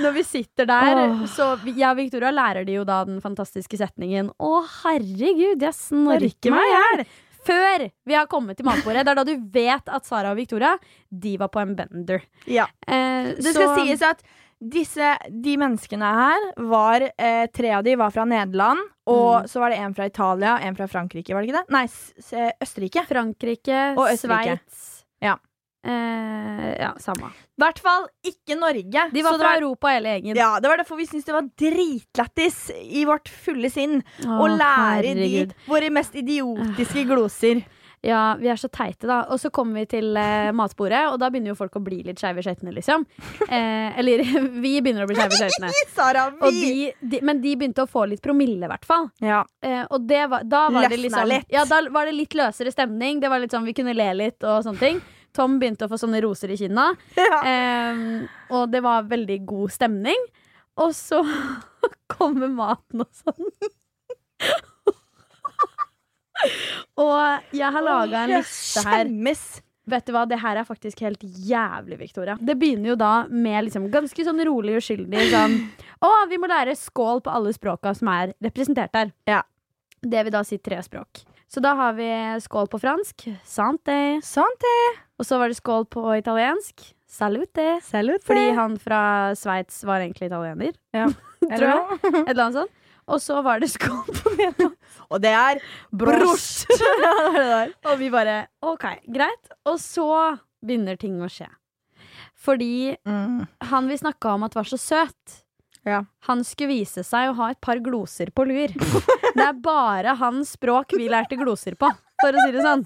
Speaker 2: Når vi sitter der,
Speaker 1: Åh.
Speaker 2: så vi- jeg og Victoria lærer de jo da den fantastiske setningen Å, herregud, jeg snorker
Speaker 1: Snorker meg
Speaker 2: meg
Speaker 1: i
Speaker 2: i
Speaker 1: hjel!
Speaker 2: hjel! Før vi har kommet til matbordet. Det er da du vet at Sara og Victoria De var på en bender.
Speaker 1: Ja.
Speaker 2: Eh,
Speaker 1: Det skal sies at disse, de menneskene her var eh, Tre av de var fra Nederland, og
Speaker 2: Mm.
Speaker 1: så var det en fra Italia og en fra Frankrike. var det ikke det? Nei, s s Østerrike.
Speaker 2: Frankrike,
Speaker 1: Og Østerrike.
Speaker 2: Sveits
Speaker 1: Ja.
Speaker 2: Eh, ja, samme.
Speaker 1: I hvert fall ikke Norge.
Speaker 2: De var
Speaker 1: Så det
Speaker 2: fra
Speaker 1: var-
Speaker 2: Europa, hele gjengen.
Speaker 1: ja, Det var derfor vi syntes det var dritlættis i vårt fulle sinn å
Speaker 2: Å,
Speaker 1: lære
Speaker 2: herregud. Ah.
Speaker 1: de våre mest idiotiske gloser.
Speaker 2: Ja, vi er så teite, da. Og så kommer vi til eh, matbordet, og da begynner jo folk å bli litt skeive i skøytene, liksom. Eh, eller vi begynner å bli skeive i skøytene.
Speaker 1: Sara,
Speaker 2: Og
Speaker 1: vi
Speaker 2: de, de, men de begynte å få litt promille, i hvert fall.
Speaker 1: ja.
Speaker 2: Eh, og det var, da var det
Speaker 1: Løsna
Speaker 2: liksom
Speaker 1: litt.
Speaker 2: Ja, da var det litt løsere stemning. Det var litt sånn, Vi kunne le litt og sånne ting. Tom begynte å få sånne roser i kinna.
Speaker 1: ja.
Speaker 2: Eh, og det var veldig god stemning. Og så kommer maten og sånn. og jeg har laga en liste her.
Speaker 1: Skjemmes.
Speaker 2: Vet du hva, Det her er faktisk helt jævlig, Victoria. Det begynner jo da med liksom ganske sånn rolig uskyldig sånn Å, vi må lære skål på alle språka som er representert der.
Speaker 1: Ja.
Speaker 2: Det vil da si tre språk. Så da har vi skål på fransk. Sante.
Speaker 1: Sant det.
Speaker 2: Og så var det skål på italiensk. Salute. Fordi han fra Sveits var egentlig italiener. tror jeg. Et eller annet sånt. Og så var det skål på nederlandsk.
Speaker 1: Og det er
Speaker 2: Brost.
Speaker 1: Ja, det er det der.
Speaker 2: Og vi bare OK, greit. Og så begynner ting å skje. Fordi
Speaker 1: mm.
Speaker 2: han vi snakka om at var så søt,
Speaker 1: Ja.
Speaker 2: han skulle vise seg å ha et par gloser på lur. Det er bare hans språk vi lærte gloser på, for å si det sånn.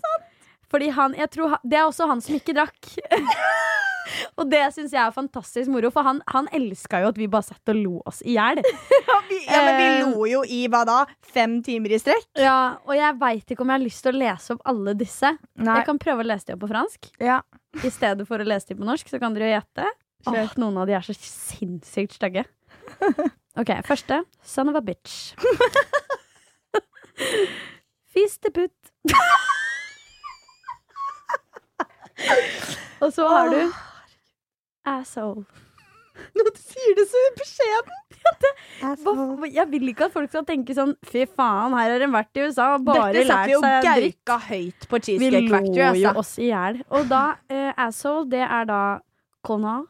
Speaker 2: Fordi han, jeg tror han, Det er også han som ikke drakk. og det syns jeg er fantastisk moro, for han, han elska jo at vi bare satt og lo oss i hjel.
Speaker 1: Ja, men
Speaker 2: Eh.
Speaker 1: vi lo jo i hva da? Fem timer i strekk?
Speaker 2: Ja, og jeg veit ikke om jeg har lyst til å lese opp alle disse.
Speaker 3: Nei.
Speaker 2: Jeg kan prøve å lese de opp på fransk.
Speaker 3: Ja.
Speaker 2: I stedet for å lese de på norsk, så kan dere jo gjette.
Speaker 3: Kjør.
Speaker 2: Åh, noen av de er så sinnssykt stygge. OK, første. Son of a bitch. Fisteputt. Og så har du asshole.
Speaker 1: Nå sier det så beskjeden!
Speaker 2: Hva, hva- jeg vil ikke at folk skal tenke sånn Fy faen, her har de vært i USA og bare
Speaker 1: Dette satt
Speaker 2: lært
Speaker 1: vi jo
Speaker 2: seg dritt.
Speaker 1: gauka høyt på Cheesecake Factory.
Speaker 2: Vi lo jo
Speaker 1: Altså.
Speaker 2: oss i hjel. Og da eh, asshole, det er da connard.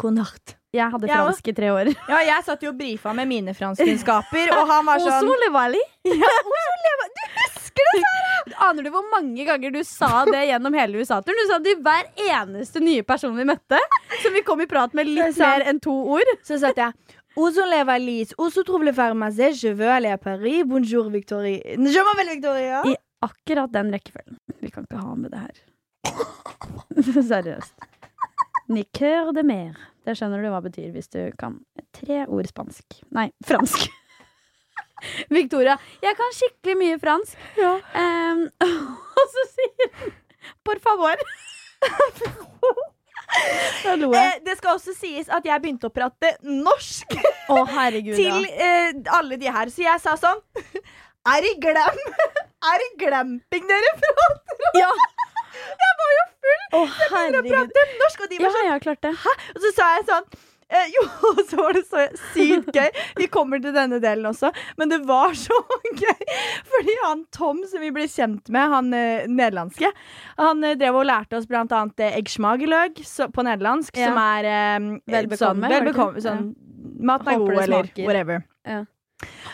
Speaker 3: Konart.
Speaker 2: Jeg hadde
Speaker 1: Jeg også.
Speaker 2: fransk i tre år.
Speaker 1: Ja, jeg satt jo og brifa med mine franskkunnskaper, og han var sånn
Speaker 2: Osole Valley. Du husker det, Sara! Aner du hvor mange ganger du sa det gjennom hele USA-turen? Du sa det i hver eneste nye person vi møtte, som vi kom i prat med
Speaker 3: Det er
Speaker 2: litt
Speaker 3: sant.
Speaker 2: mer enn to ord.
Speaker 3: Så satt jeg Ozo leva lise, ozo trouve le pharmacie, je veux aller à Paris, bonjour Victoria. Je m'appelle Victoria.
Speaker 2: I akkurat den rekkefølgen. Vi kan ikke ha med det her. Seriøst. Niqueur de mer. Det skjønner du hva betyr hvis du kan tre ord spansk. Nei, fransk. Victoria, jeg kan skikkelig mye fransk.
Speaker 3: Ja.
Speaker 2: Ehm, og så sier hun Por favor. da lo jeg.
Speaker 1: eh, Det skal også sies at jeg begynte å prate norsk
Speaker 2: Å, herregud, ja.
Speaker 1: til eh, alle de her, så jeg sa sånn Er det glem? Er det glamping dere prater om?
Speaker 2: Ja.
Speaker 1: Jeg var jo full!
Speaker 2: Å,
Speaker 1: Jeg
Speaker 2: herregud.
Speaker 1: prater norsk, og de
Speaker 2: Ja,
Speaker 1: var sånn
Speaker 2: jeg har klart det.
Speaker 1: Og så sa jeg sånn eh, Jo, og så var det så sykt gøy. Vi kommer til denne delen også, men det var så gøy. Fordi han Tom som vi ble kjent med, han eh, nederlandske, han eh, drev og lærte oss blant annet eh, eggschmageløg så- på nederlandsk,
Speaker 2: Ja.
Speaker 1: som er eh,
Speaker 2: Vel bekomme,
Speaker 1: sånn,
Speaker 2: var det
Speaker 1: vel
Speaker 2: ikke
Speaker 1: bekomme
Speaker 2: det?
Speaker 1: sånn Maten er
Speaker 2: Håper
Speaker 1: god,
Speaker 2: det
Speaker 1: eller
Speaker 2: smaker.
Speaker 1: whatever.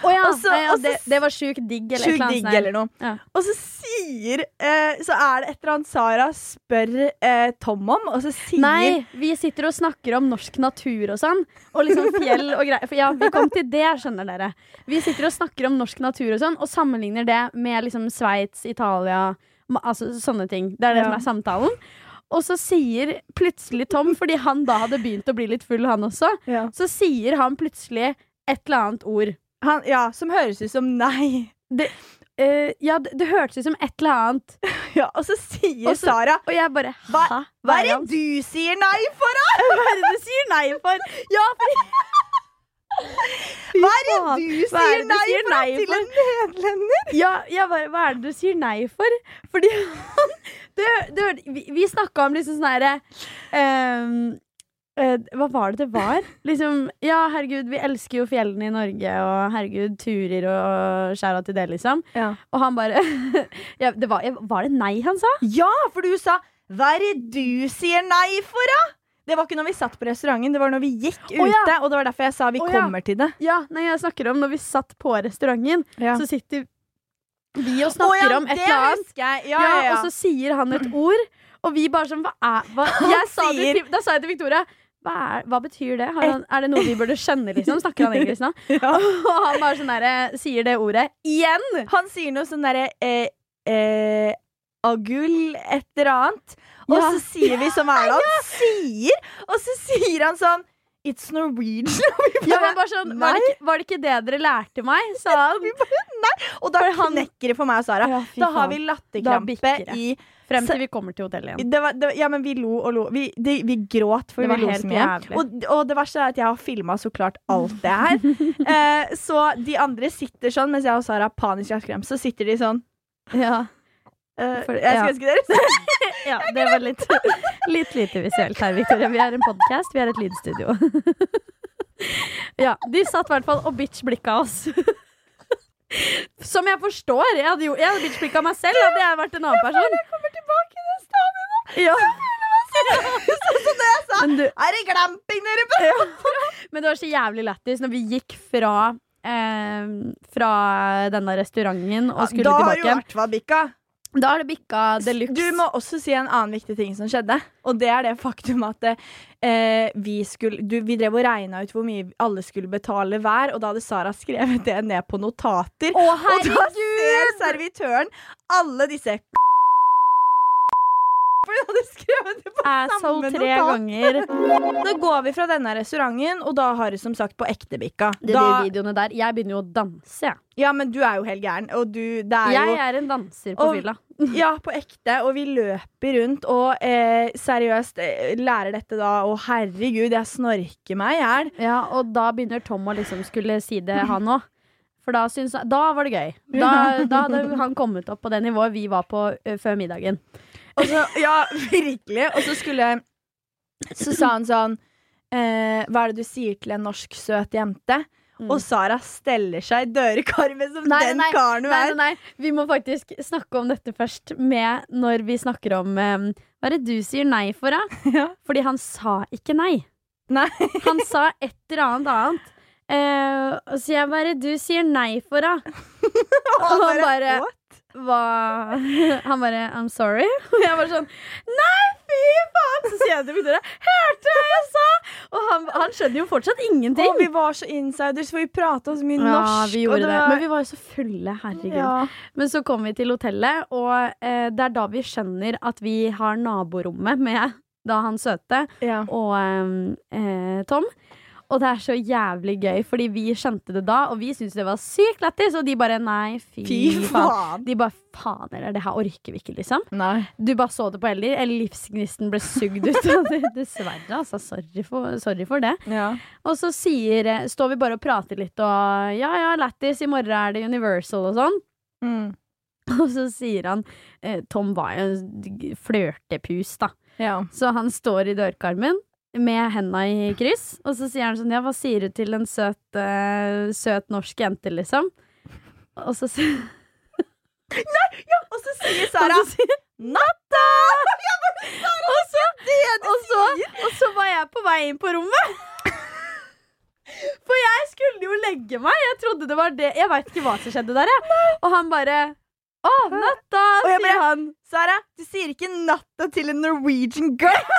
Speaker 2: Å ja,
Speaker 1: Og så-
Speaker 2: nei, ja
Speaker 1: og så-
Speaker 2: det, det var sjukt digg eller
Speaker 1: Sjukt
Speaker 2: et
Speaker 1: digg
Speaker 2: annet sånt.
Speaker 1: eller noe.
Speaker 2: Ja.
Speaker 1: Og så sier eh, Så er det et eller annet Sara spør eh, Tom om, og så sier
Speaker 2: Nei, vi sitter og snakker om norsk natur og sånn. Og liksom fjell og greier. For ja, vi kom til det, skjønner dere. Vi sitter og snakker om norsk natur og sånn, og sammenligner det med liksom Sveits, Italia, ma- altså sånne ting. Det er det
Speaker 3: Ja.
Speaker 2: som er samtalen. Og så sier plutselig Tom, fordi han da hadde begynt å bli litt full, han også,
Speaker 1: Ja.
Speaker 2: så sier han plutselig et eller annet ord.
Speaker 1: Han, ja, som høres ut som nei.
Speaker 2: Eh, ja, det, det hørtes ut som et eller annet.
Speaker 1: Ja, og så sier
Speaker 2: Og så-
Speaker 1: Sara
Speaker 2: Og jeg bare
Speaker 1: Hva-
Speaker 2: Hæ?
Speaker 1: Hva er
Speaker 2: det
Speaker 1: det
Speaker 2: han-
Speaker 1: du sier nei for?
Speaker 2: Hva er det du sier nei for? Ja, fordi
Speaker 1: Hva er det
Speaker 2: faen.
Speaker 1: du
Speaker 2: Hva er
Speaker 1: sier
Speaker 2: det du
Speaker 1: nei
Speaker 2: sier
Speaker 1: for
Speaker 2: nei
Speaker 1: til
Speaker 2: for?
Speaker 1: en nederlender?
Speaker 2: Ja, jeg bare, hva er det du sier nei for? Fordi han det, det, Vi, vi snakka om liksom sånn herre ehm, eh, Hva var det det var? Liksom, ja, herregud, vi elsker jo fjellene i Norge, og herregud, turer og skjæra til det, liksom.
Speaker 3: Ja.
Speaker 2: Og han bare ja, det var, var det nei han sa?
Speaker 1: Ja, for du sa 'hva er det du sier nei for', da? Det var ikke når vi satt på restauranten, det var når vi gikk ute.
Speaker 2: Å, ja.
Speaker 1: Og det var derfor jeg sa 'vi
Speaker 2: Å, ja.
Speaker 1: kommer til det'.
Speaker 2: Ja, nei, jeg snakker om når vi satt på restauranten,
Speaker 3: Ja.
Speaker 2: så sitter vi og snakker om et
Speaker 1: det
Speaker 2: eller annet.
Speaker 1: husker jeg. Ja,
Speaker 2: Ja,
Speaker 1: ja, ja.
Speaker 2: Og så sier han et ord, og vi bare sånn Hva er hva? Jeg sa det til, Da sa jeg til Victoria hva, er, hva betyr det? Har han, er det noe vi burde skjønne, liksom? Snakker han engelsk nå? Og han bare sånn derre Sier det ordet igjen!
Speaker 1: Han sier noe sånn derre eh, eh, Agull, et eller annet. Og
Speaker 2: Ja.
Speaker 1: så sier vi som er det han sier, og så sier han sånn It's Norwegian. Og vi
Speaker 2: Ja,
Speaker 1: bare-
Speaker 2: men bare sånn, var, det ikke, var det ikke det dere lærte meg? Sa han.
Speaker 1: og da knekker det for meg og Sara.
Speaker 2: Ja, fy
Speaker 1: Da har
Speaker 2: faen.
Speaker 1: vi
Speaker 2: Da
Speaker 1: latterkrampe
Speaker 2: bikker det.
Speaker 1: i
Speaker 2: Frem til vi kommer til hotellet igjen.
Speaker 1: det var, det, Ja, men vi lo og lo. Vi, det, vi gråt, for
Speaker 2: Det
Speaker 1: vi
Speaker 2: var
Speaker 1: lo
Speaker 2: helt
Speaker 1: så mye.
Speaker 2: jævlig.
Speaker 1: Og, og det verste er at jeg har filma så klart alt det her. eh, så de andre sitter sånn, mens jeg og Sara har panisk hjertekrem, så sitter de sånn.
Speaker 2: Ja,
Speaker 1: eh,
Speaker 2: For-
Speaker 1: jeg
Speaker 2: ja.
Speaker 1: skulle ønske dere
Speaker 2: ja det var litt, litt lite visuelt her, Victoria. Vi er en podkast, vi er et lydstudio. Ja, de satt i hvert fall og bitch-blikka oss. Som jeg forstår. Jeg hadde, jo- jeg hadde bitch-blikka meg selv, hadde jeg vært en annen person.
Speaker 1: tilbake i det stadiet nå.
Speaker 2: Ja.
Speaker 1: Sånn som det jeg sa.
Speaker 2: Men, du,
Speaker 1: Er det glamping dere på?
Speaker 2: men det var så jævlig lættis når vi gikk fra eh, fra denne restauranten og skulle
Speaker 1: da har jo
Speaker 2: tilbake.
Speaker 1: Artva bikka.
Speaker 2: Da har det bikka de
Speaker 1: Du
Speaker 2: luxe.
Speaker 1: må også si en annen viktig ting som skjedde. Og det er det faktum at eh, vi, skulle, du, vi drev og regna ut hvor mye alle skulle betale hver, og da hadde Sara skrevet det ned på notater.
Speaker 2: Å,
Speaker 1: Og da
Speaker 2: herregud!
Speaker 1: ser servitøren alle disse hadde skrevet det på
Speaker 2: Asshole
Speaker 1: Samme
Speaker 2: tre
Speaker 1: notat.
Speaker 2: ganger.
Speaker 4: Da går vi fra denne restauranten, og da har det som sagt på ekte bikka.
Speaker 2: Det, de
Speaker 4: Da-
Speaker 2: videoene der. Jeg begynner jo å danse. jeg.
Speaker 1: Ja, men du er jo helt gæren. Og du, det er
Speaker 2: Jeg
Speaker 1: jo
Speaker 2: er en danser på
Speaker 1: Og-
Speaker 2: fylla.
Speaker 1: Ja, på ekte. Og vi løper rundt og eh, seriøst eh, lærer dette da. Og herregud, jeg snorker meg i hjel.
Speaker 2: Ja, og da begynner Tom å liksom skulle si det, han òg. For da, syns, han- da var det gøy. Da, da hadde han kommet opp på det nivået vi var på ø, før middagen.
Speaker 1: Og så- Ja,
Speaker 4: Virkelig. Og så skulle Så sa han sånn eh, Hva er det du sier til en norsk søt jente?
Speaker 2: Mm.
Speaker 4: Og Sara steller seg i dørekarmen som
Speaker 2: Nei,
Speaker 4: den
Speaker 2: nei,
Speaker 4: karen hun
Speaker 2: Nei,
Speaker 4: er.
Speaker 2: nei, nei, vi må faktisk snakke om dette først med når vi snakker om eh, Hva er det du sier nei for, da?
Speaker 1: Ja.
Speaker 2: Fordi han sa ikke nei.
Speaker 1: Nei.
Speaker 2: han sa et eller annet annet. Eh, og så jeg bare Du sier nei for, da. Og han bare
Speaker 1: «What?»
Speaker 2: Hva Han bare I'm sorry. Og jeg bare sånn Nei, fy faen! Så sier jeg til Victoria Hørte du hva jeg sa? Og han, han skjønner jo fortsatt ingenting.
Speaker 1: Og vi var så insiders, for vi prata så mye
Speaker 2: ja,
Speaker 1: norsk.
Speaker 2: vi gjorde
Speaker 1: og
Speaker 2: det,
Speaker 1: var-
Speaker 2: Men vi var jo så fulle, herregud.
Speaker 1: ja.
Speaker 2: Men så kom vi til hotellet, og eh, det er da vi skjønner at vi har naborommet med da han søte
Speaker 1: Ja.
Speaker 2: og eh, eh, Tom. Og det er så jævlig gøy, fordi vi skjønte det da, og vi syntes det var sykt lættis. Og de bare nei, fy,
Speaker 1: Fy
Speaker 2: faen.
Speaker 1: faen.
Speaker 2: De bare faen eller det her orker vi ikke, liksom.
Speaker 1: Nei.
Speaker 2: Du bare så det på Ellie. eller Livsgnisten ble sugd ut av det. Dessverre, altså. Sorry for, sorry for det.
Speaker 1: Ja.
Speaker 2: Og så sier, eh, står vi bare og prater litt og ja, ja, lættis, i morgen er det Universal og sånn.
Speaker 1: Mm.
Speaker 2: Og så sier han eh, Tom var jo en flørtepus, da.
Speaker 1: ja.
Speaker 2: Så han står i dørkarmen med henda i kryss, og så sier han sånn Ja, hva sier du til en søt, eh, søt norsk jente, liksom? Og så, s-
Speaker 1: Og så sier
Speaker 2: og
Speaker 1: Sara
Speaker 2: så sier
Speaker 1: Natta!
Speaker 2: og så, og, så, og så var jeg på vei inn på rommet. For jeg skulle jo legge meg. Jeg trodde det var det Jeg veit ikke hva som skjedde der, jeg. Og han bare Å, natta,
Speaker 1: Og jeg
Speaker 2: sier
Speaker 1: bare-
Speaker 2: han.
Speaker 1: Sara, du sier ikke natta til en Norwegian girl!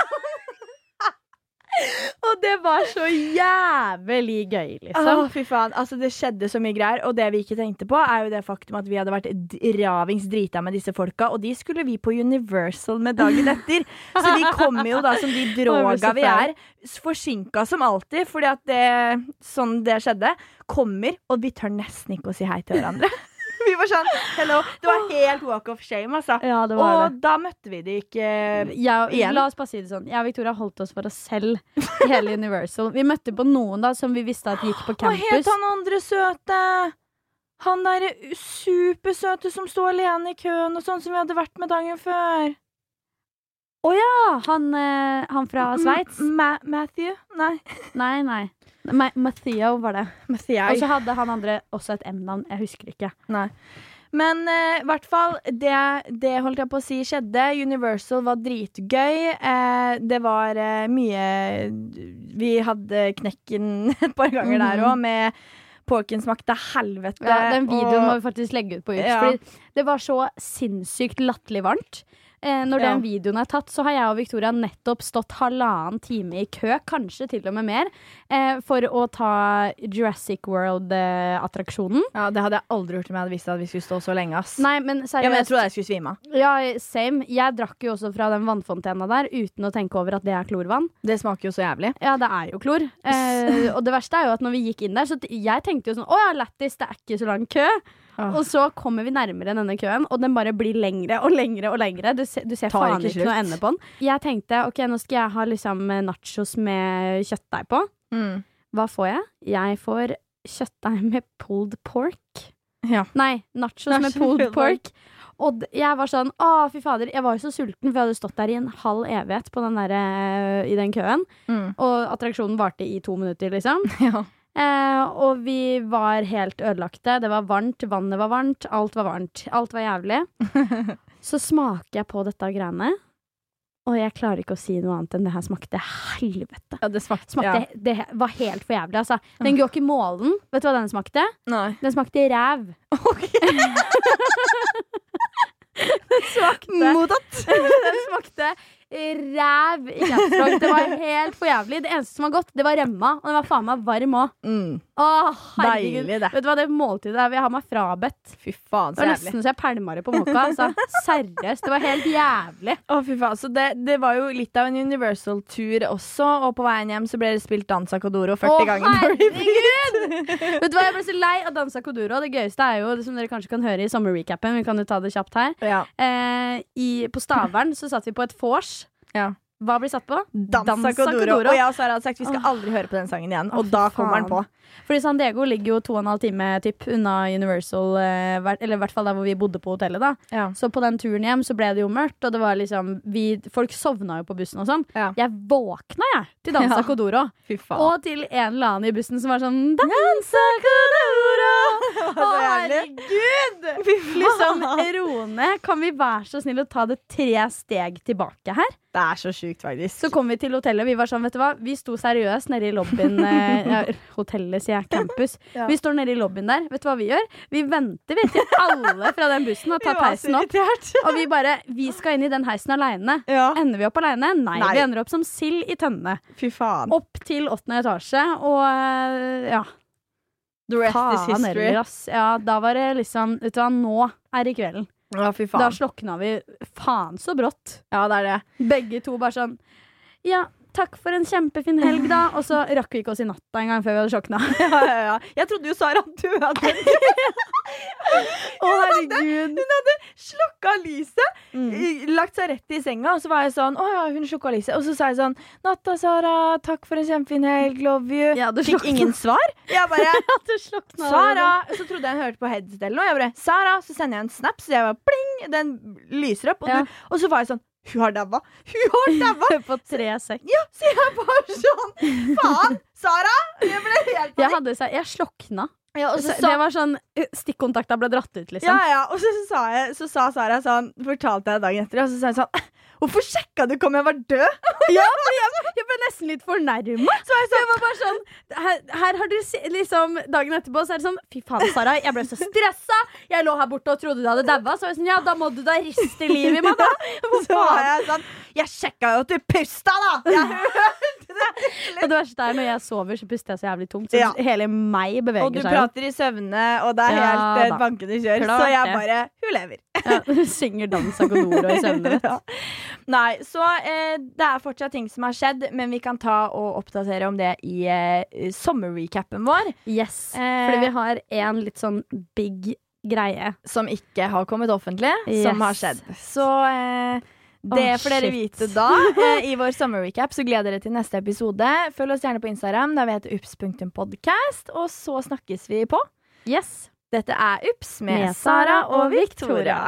Speaker 2: Og det var så jævlig gøy, liksom.
Speaker 1: Å, fy faen. Altså, det skjedde så mye greier, og det vi ikke tenkte på, er jo det faktum at vi hadde vært d- ravings drita med disse folka, og de skulle vi på Universal med dagen etter. Så vi kommer jo da som de
Speaker 2: Å, jeg ble
Speaker 1: droga
Speaker 2: så
Speaker 1: vi
Speaker 2: flau.
Speaker 1: er, s- forsinka som alltid, fordi at det, sånn det skjedde, kommer, og vi tør nesten ikke å si hei til hverandre. Vi var sånn, hello. Det var helt walk of shame, altså.
Speaker 2: Ja, det var det.
Speaker 1: Og Mhm. da møtte vi de ikke eh,
Speaker 2: Jeg,
Speaker 1: igjen.
Speaker 2: la oss bare si det sånn. Jeg og Victoria holdt oss for oss selv i hele Universal. Vi møtte på noen da som vi visste at gikk på
Speaker 1: Hva het
Speaker 2: campus.
Speaker 1: han andre søte? Han derre supersøte som sto alene i køen og sånn, som vi hadde vært med dagen før.
Speaker 2: Ah, han, eh, han fra
Speaker 1: Mm,
Speaker 2: Sveits?
Speaker 1: M- Ma Matthew? Nei.
Speaker 2: Nei, nei. Ma Matheo var det. Og
Speaker 1: Matthew.
Speaker 2: så hadde han andre også et M-navn. Jeg husker ikke.
Speaker 1: Men eh, i hvert fall, det, det holdt jeg på å si skjedde. Universal var dritgøy. Eh, det var eh, mye Vi hadde knekken et par ganger der òg, med Porken smakte helvete.
Speaker 2: Ja, den videoen må
Speaker 1: og,
Speaker 2: vi faktisk legge ut på Ut.
Speaker 1: Ja.
Speaker 2: Fordi det var så sinnssykt latterlig varmt. Eh, når
Speaker 1: Ja.
Speaker 2: den videoen er tatt, så har jeg og Victoria nettopp stått halvannen time i kø, kanskje til og med mer, eh, for å ta Jurassic World-attraksjonen.
Speaker 1: ja, det hadde jeg aldri gjort om jeg hadde visst at vi skulle stå så lenge. ass
Speaker 2: Nei, men
Speaker 1: ja, men Jeg
Speaker 2: seriøst.
Speaker 1: trodde jeg skulle svime av.
Speaker 2: Ja, same. Jeg drakk jo også fra den vannfontena der uten å tenke over at det er klorvann.
Speaker 1: Det smaker jo så jævlig.
Speaker 2: Ja, det er jo klor. Eh, og det verste er jo at når vi gikk inn der, så t- jeg tenkte jo sånn Å ja, lættis, det er ikke så lang kø.
Speaker 1: Ah.
Speaker 2: Og så kommer vi nærmere denne køen, og den bare blir lengre og lengre. og lengre Du, se, du ser
Speaker 1: Tar
Speaker 2: faen
Speaker 1: ikke
Speaker 2: ikke noe
Speaker 1: slutt.
Speaker 2: ende på den. Jeg tenkte ok, nå skal jeg ha liksom eh, nachos med kjøttdeig på.
Speaker 1: Mm.
Speaker 2: Hva får jeg? Jeg får kjøttdeig med pulled pork.
Speaker 1: Ja.
Speaker 2: Nei, nachos med
Speaker 1: Nachos
Speaker 2: pulled
Speaker 1: med pulled
Speaker 2: pork. Og d- jeg var sånn, å fy fader, jeg var jo så sulten, for jeg hadde stått der i en halv evighet på den der, eh, i den køen.
Speaker 1: Mm.
Speaker 2: Og attraksjonen varte i to minutter, liksom.
Speaker 1: Ja.
Speaker 2: Eh, og vi var helt ødelagte. Det var varmt, vannet var varmt, alt var varmt. Alt var jævlig. Så smaker jeg på dette greiene, og jeg klarer ikke å si noe annet enn det her smakte helvete.
Speaker 1: Ja, det smakte,
Speaker 2: Smakte, Det var helt for jævlig, altså. Den guacamolen, vet du hva den smakte?
Speaker 1: Nei.
Speaker 2: Den smakte ræv.
Speaker 1: Mottatt!
Speaker 2: Den smakte ræv i Kjapsvåg. Det var helt for jævlig. Det eneste som var godt, det var remma. Og den var faen meg varm òg.
Speaker 5: Mm.
Speaker 2: Åh, herregud.
Speaker 5: Deilig, det.
Speaker 2: Vet du hva det måltidet er? Vi har meg frabedt.
Speaker 5: Fy faen, så
Speaker 2: Det var
Speaker 5: jævlig.
Speaker 2: nesten så jeg pælma det på mokka. Altså. Seriøst. Det var helt jævlig.
Speaker 1: Å, fy faen. Så det, det var jo litt av en Universal-tur også, og på veien hjem så ble det spilt Danza Codoro 40
Speaker 2: Å,
Speaker 1: ganger. på repeat.
Speaker 2: Vet du hva, Jeg ble så lei av Dansa Kodoro. Det gøyeste er jo, som dere kanskje kan høre i sommerrecapen, vi kan jo ta det kjapt her
Speaker 1: Ja.
Speaker 2: eh, i, På Stavern så satt vi på et vors.
Speaker 1: Ja.
Speaker 2: Hva ble satt på?
Speaker 5: Dansa Kodoro. Og jeg og Sara hadde sagt vi skal aldri høre på den sangen igjen.
Speaker 2: Å,
Speaker 5: Og
Speaker 2: fy
Speaker 5: da kommer den på.
Speaker 2: faen. Fordi San Diego ligger jo to og en halv time typ, unna Universal, eh, hver- eller i hvert fall der hvor vi bodde på hotellet. da
Speaker 1: Ja.
Speaker 2: Så på den turen hjem så ble det jo mørkt, og det var liksom vi, folk sovna jo på bussen og sånn.
Speaker 1: Ja.
Speaker 2: Jeg våkna, jeg, til Dansa
Speaker 1: Ja.
Speaker 2: Kodoro.
Speaker 1: Fy faen.
Speaker 2: Og til en eller annen i bussen som var sånn Dansa Kodoro! Å,
Speaker 5: jævlig.
Speaker 2: herregud! Liksom, Rone, kan vi være så snill å ta det tre steg tilbake her?
Speaker 5: Det er så sjukt, faktisk.
Speaker 2: Så kom vi til hotellet, vi var sånn, vet du hva Vi sto seriøst nede i lobbyen eh, ja, Hotellet, sier jeg, campus
Speaker 5: Ja.
Speaker 2: Vi står nede i lobbyen der, vet du hva vi gjør? Vi venter, vet du, alle fra den bussen Har
Speaker 5: Vi
Speaker 2: tatt
Speaker 5: var så
Speaker 2: heisen opp
Speaker 5: irritert.
Speaker 2: Og vi bare, vi skal inn i den heisen alene
Speaker 5: Ja.
Speaker 2: Ender vi opp alene? Nei,
Speaker 5: Nei.
Speaker 2: vi ender opp som sild i tønne
Speaker 5: Fy faen.
Speaker 2: Opp til åttende etasje Og eh, ja,
Speaker 5: The rest is
Speaker 2: faen
Speaker 5: history.
Speaker 2: heller, ass Ja, da var det liksom, vet du hva, nå er det kvelden
Speaker 5: Ja, fy
Speaker 2: Da
Speaker 5: faen.
Speaker 2: slokna vi faen så brått
Speaker 5: Ja, det er det.
Speaker 2: begge to bare sånn Ja, takk for en kjempefin helg, da. Og så rakk vi ikke oss i natta engang før vi hadde sjokna.
Speaker 5: Ja, ja, ja. Jeg trodde jo Sara at du hadde
Speaker 2: Å, herregud. Mm.
Speaker 5: slokka lyset, i- lagt seg rett i senga, og så var jeg sånn Å ja, hun slukka lyset. Og så sa jeg sånn Natta, Sara. Takk for en kjempefin helg. Love you.
Speaker 2: Ja, du
Speaker 5: Fikk
Speaker 2: slokna.
Speaker 5: ingen svar. Jeg bare
Speaker 2: slokna.
Speaker 5: Sara! Så trodde jeg hun hørte på headset eller noe. Jeg bare, Sara, Så sender jeg en snap, så jeg bare pling! Den lyser opp. Og,
Speaker 2: Ja.
Speaker 5: du, og så var jeg sånn Hun har daua! Hun har daua!
Speaker 2: På tre sekk.
Speaker 5: Ja, så jeg var sånn Faen! Sara! Jeg ble helt
Speaker 2: Jeg,
Speaker 5: panikk.
Speaker 2: hadde, så- jeg slokna.
Speaker 5: Ja, og
Speaker 2: Så,
Speaker 5: så,
Speaker 2: det
Speaker 5: sa,
Speaker 2: var sånn eh, Stikkontakta ble dratt ut, liksom.
Speaker 5: ja, ja, og så, sa jeg, så sa Sara sånn Fortalte jeg dagen etter, og så sa hun sånn Hvorfor sjekka du ikke om jeg var død?
Speaker 2: Jeg ble nesten litt fornærma.
Speaker 5: Så var jeg sånn,
Speaker 2: Jeg var bare sånn her, her har dere se- liksom Dagen etterpå så er det sånn Fy faen, Sara, jeg ble så stressa. Jeg lå her borte og trodde du hadde daua. Så var jeg sånn Ja, da må du da riste livet i meg, da.
Speaker 5: så var jeg sånn Jeg sjekka jo at du pusta, da! Jeg
Speaker 2: Og det verste er når jeg sover, så puster jeg så jævlig tungt. Så
Speaker 5: Ja.
Speaker 2: hele meg beveger
Speaker 5: Og du
Speaker 2: seg. jo.
Speaker 5: prater i søvne, og det er
Speaker 2: Ja,
Speaker 5: helt eh,
Speaker 2: da.
Speaker 5: bankende kjør.
Speaker 2: Klart
Speaker 5: Så jeg
Speaker 2: det.
Speaker 5: bare Hun lever.
Speaker 2: Ja, hun synger dans av Godoro i søvne. vet du.
Speaker 5: Ja.
Speaker 1: Nei, så eh, det er fortsatt ting som har skjedd, men vi kan ta og oppdatere om det i eh, sommerrecapen vår,
Speaker 2: Yes.
Speaker 1: Eh.
Speaker 2: Fordi vi har en litt sånn big greie.
Speaker 1: som ikke har kommet offentlig,
Speaker 2: Yes.
Speaker 1: som har skjedd. Så eh, det
Speaker 2: Å,
Speaker 1: får dere
Speaker 2: shit.
Speaker 1: vite da. Eh, I vår sommerrecap så gleder dere til neste episode. Følg oss gjerne på Instagram, der vi heter ups.podcast, og så snakkes vi på.
Speaker 2: Yes.
Speaker 1: Dette er Ups med, Sara og Victoria.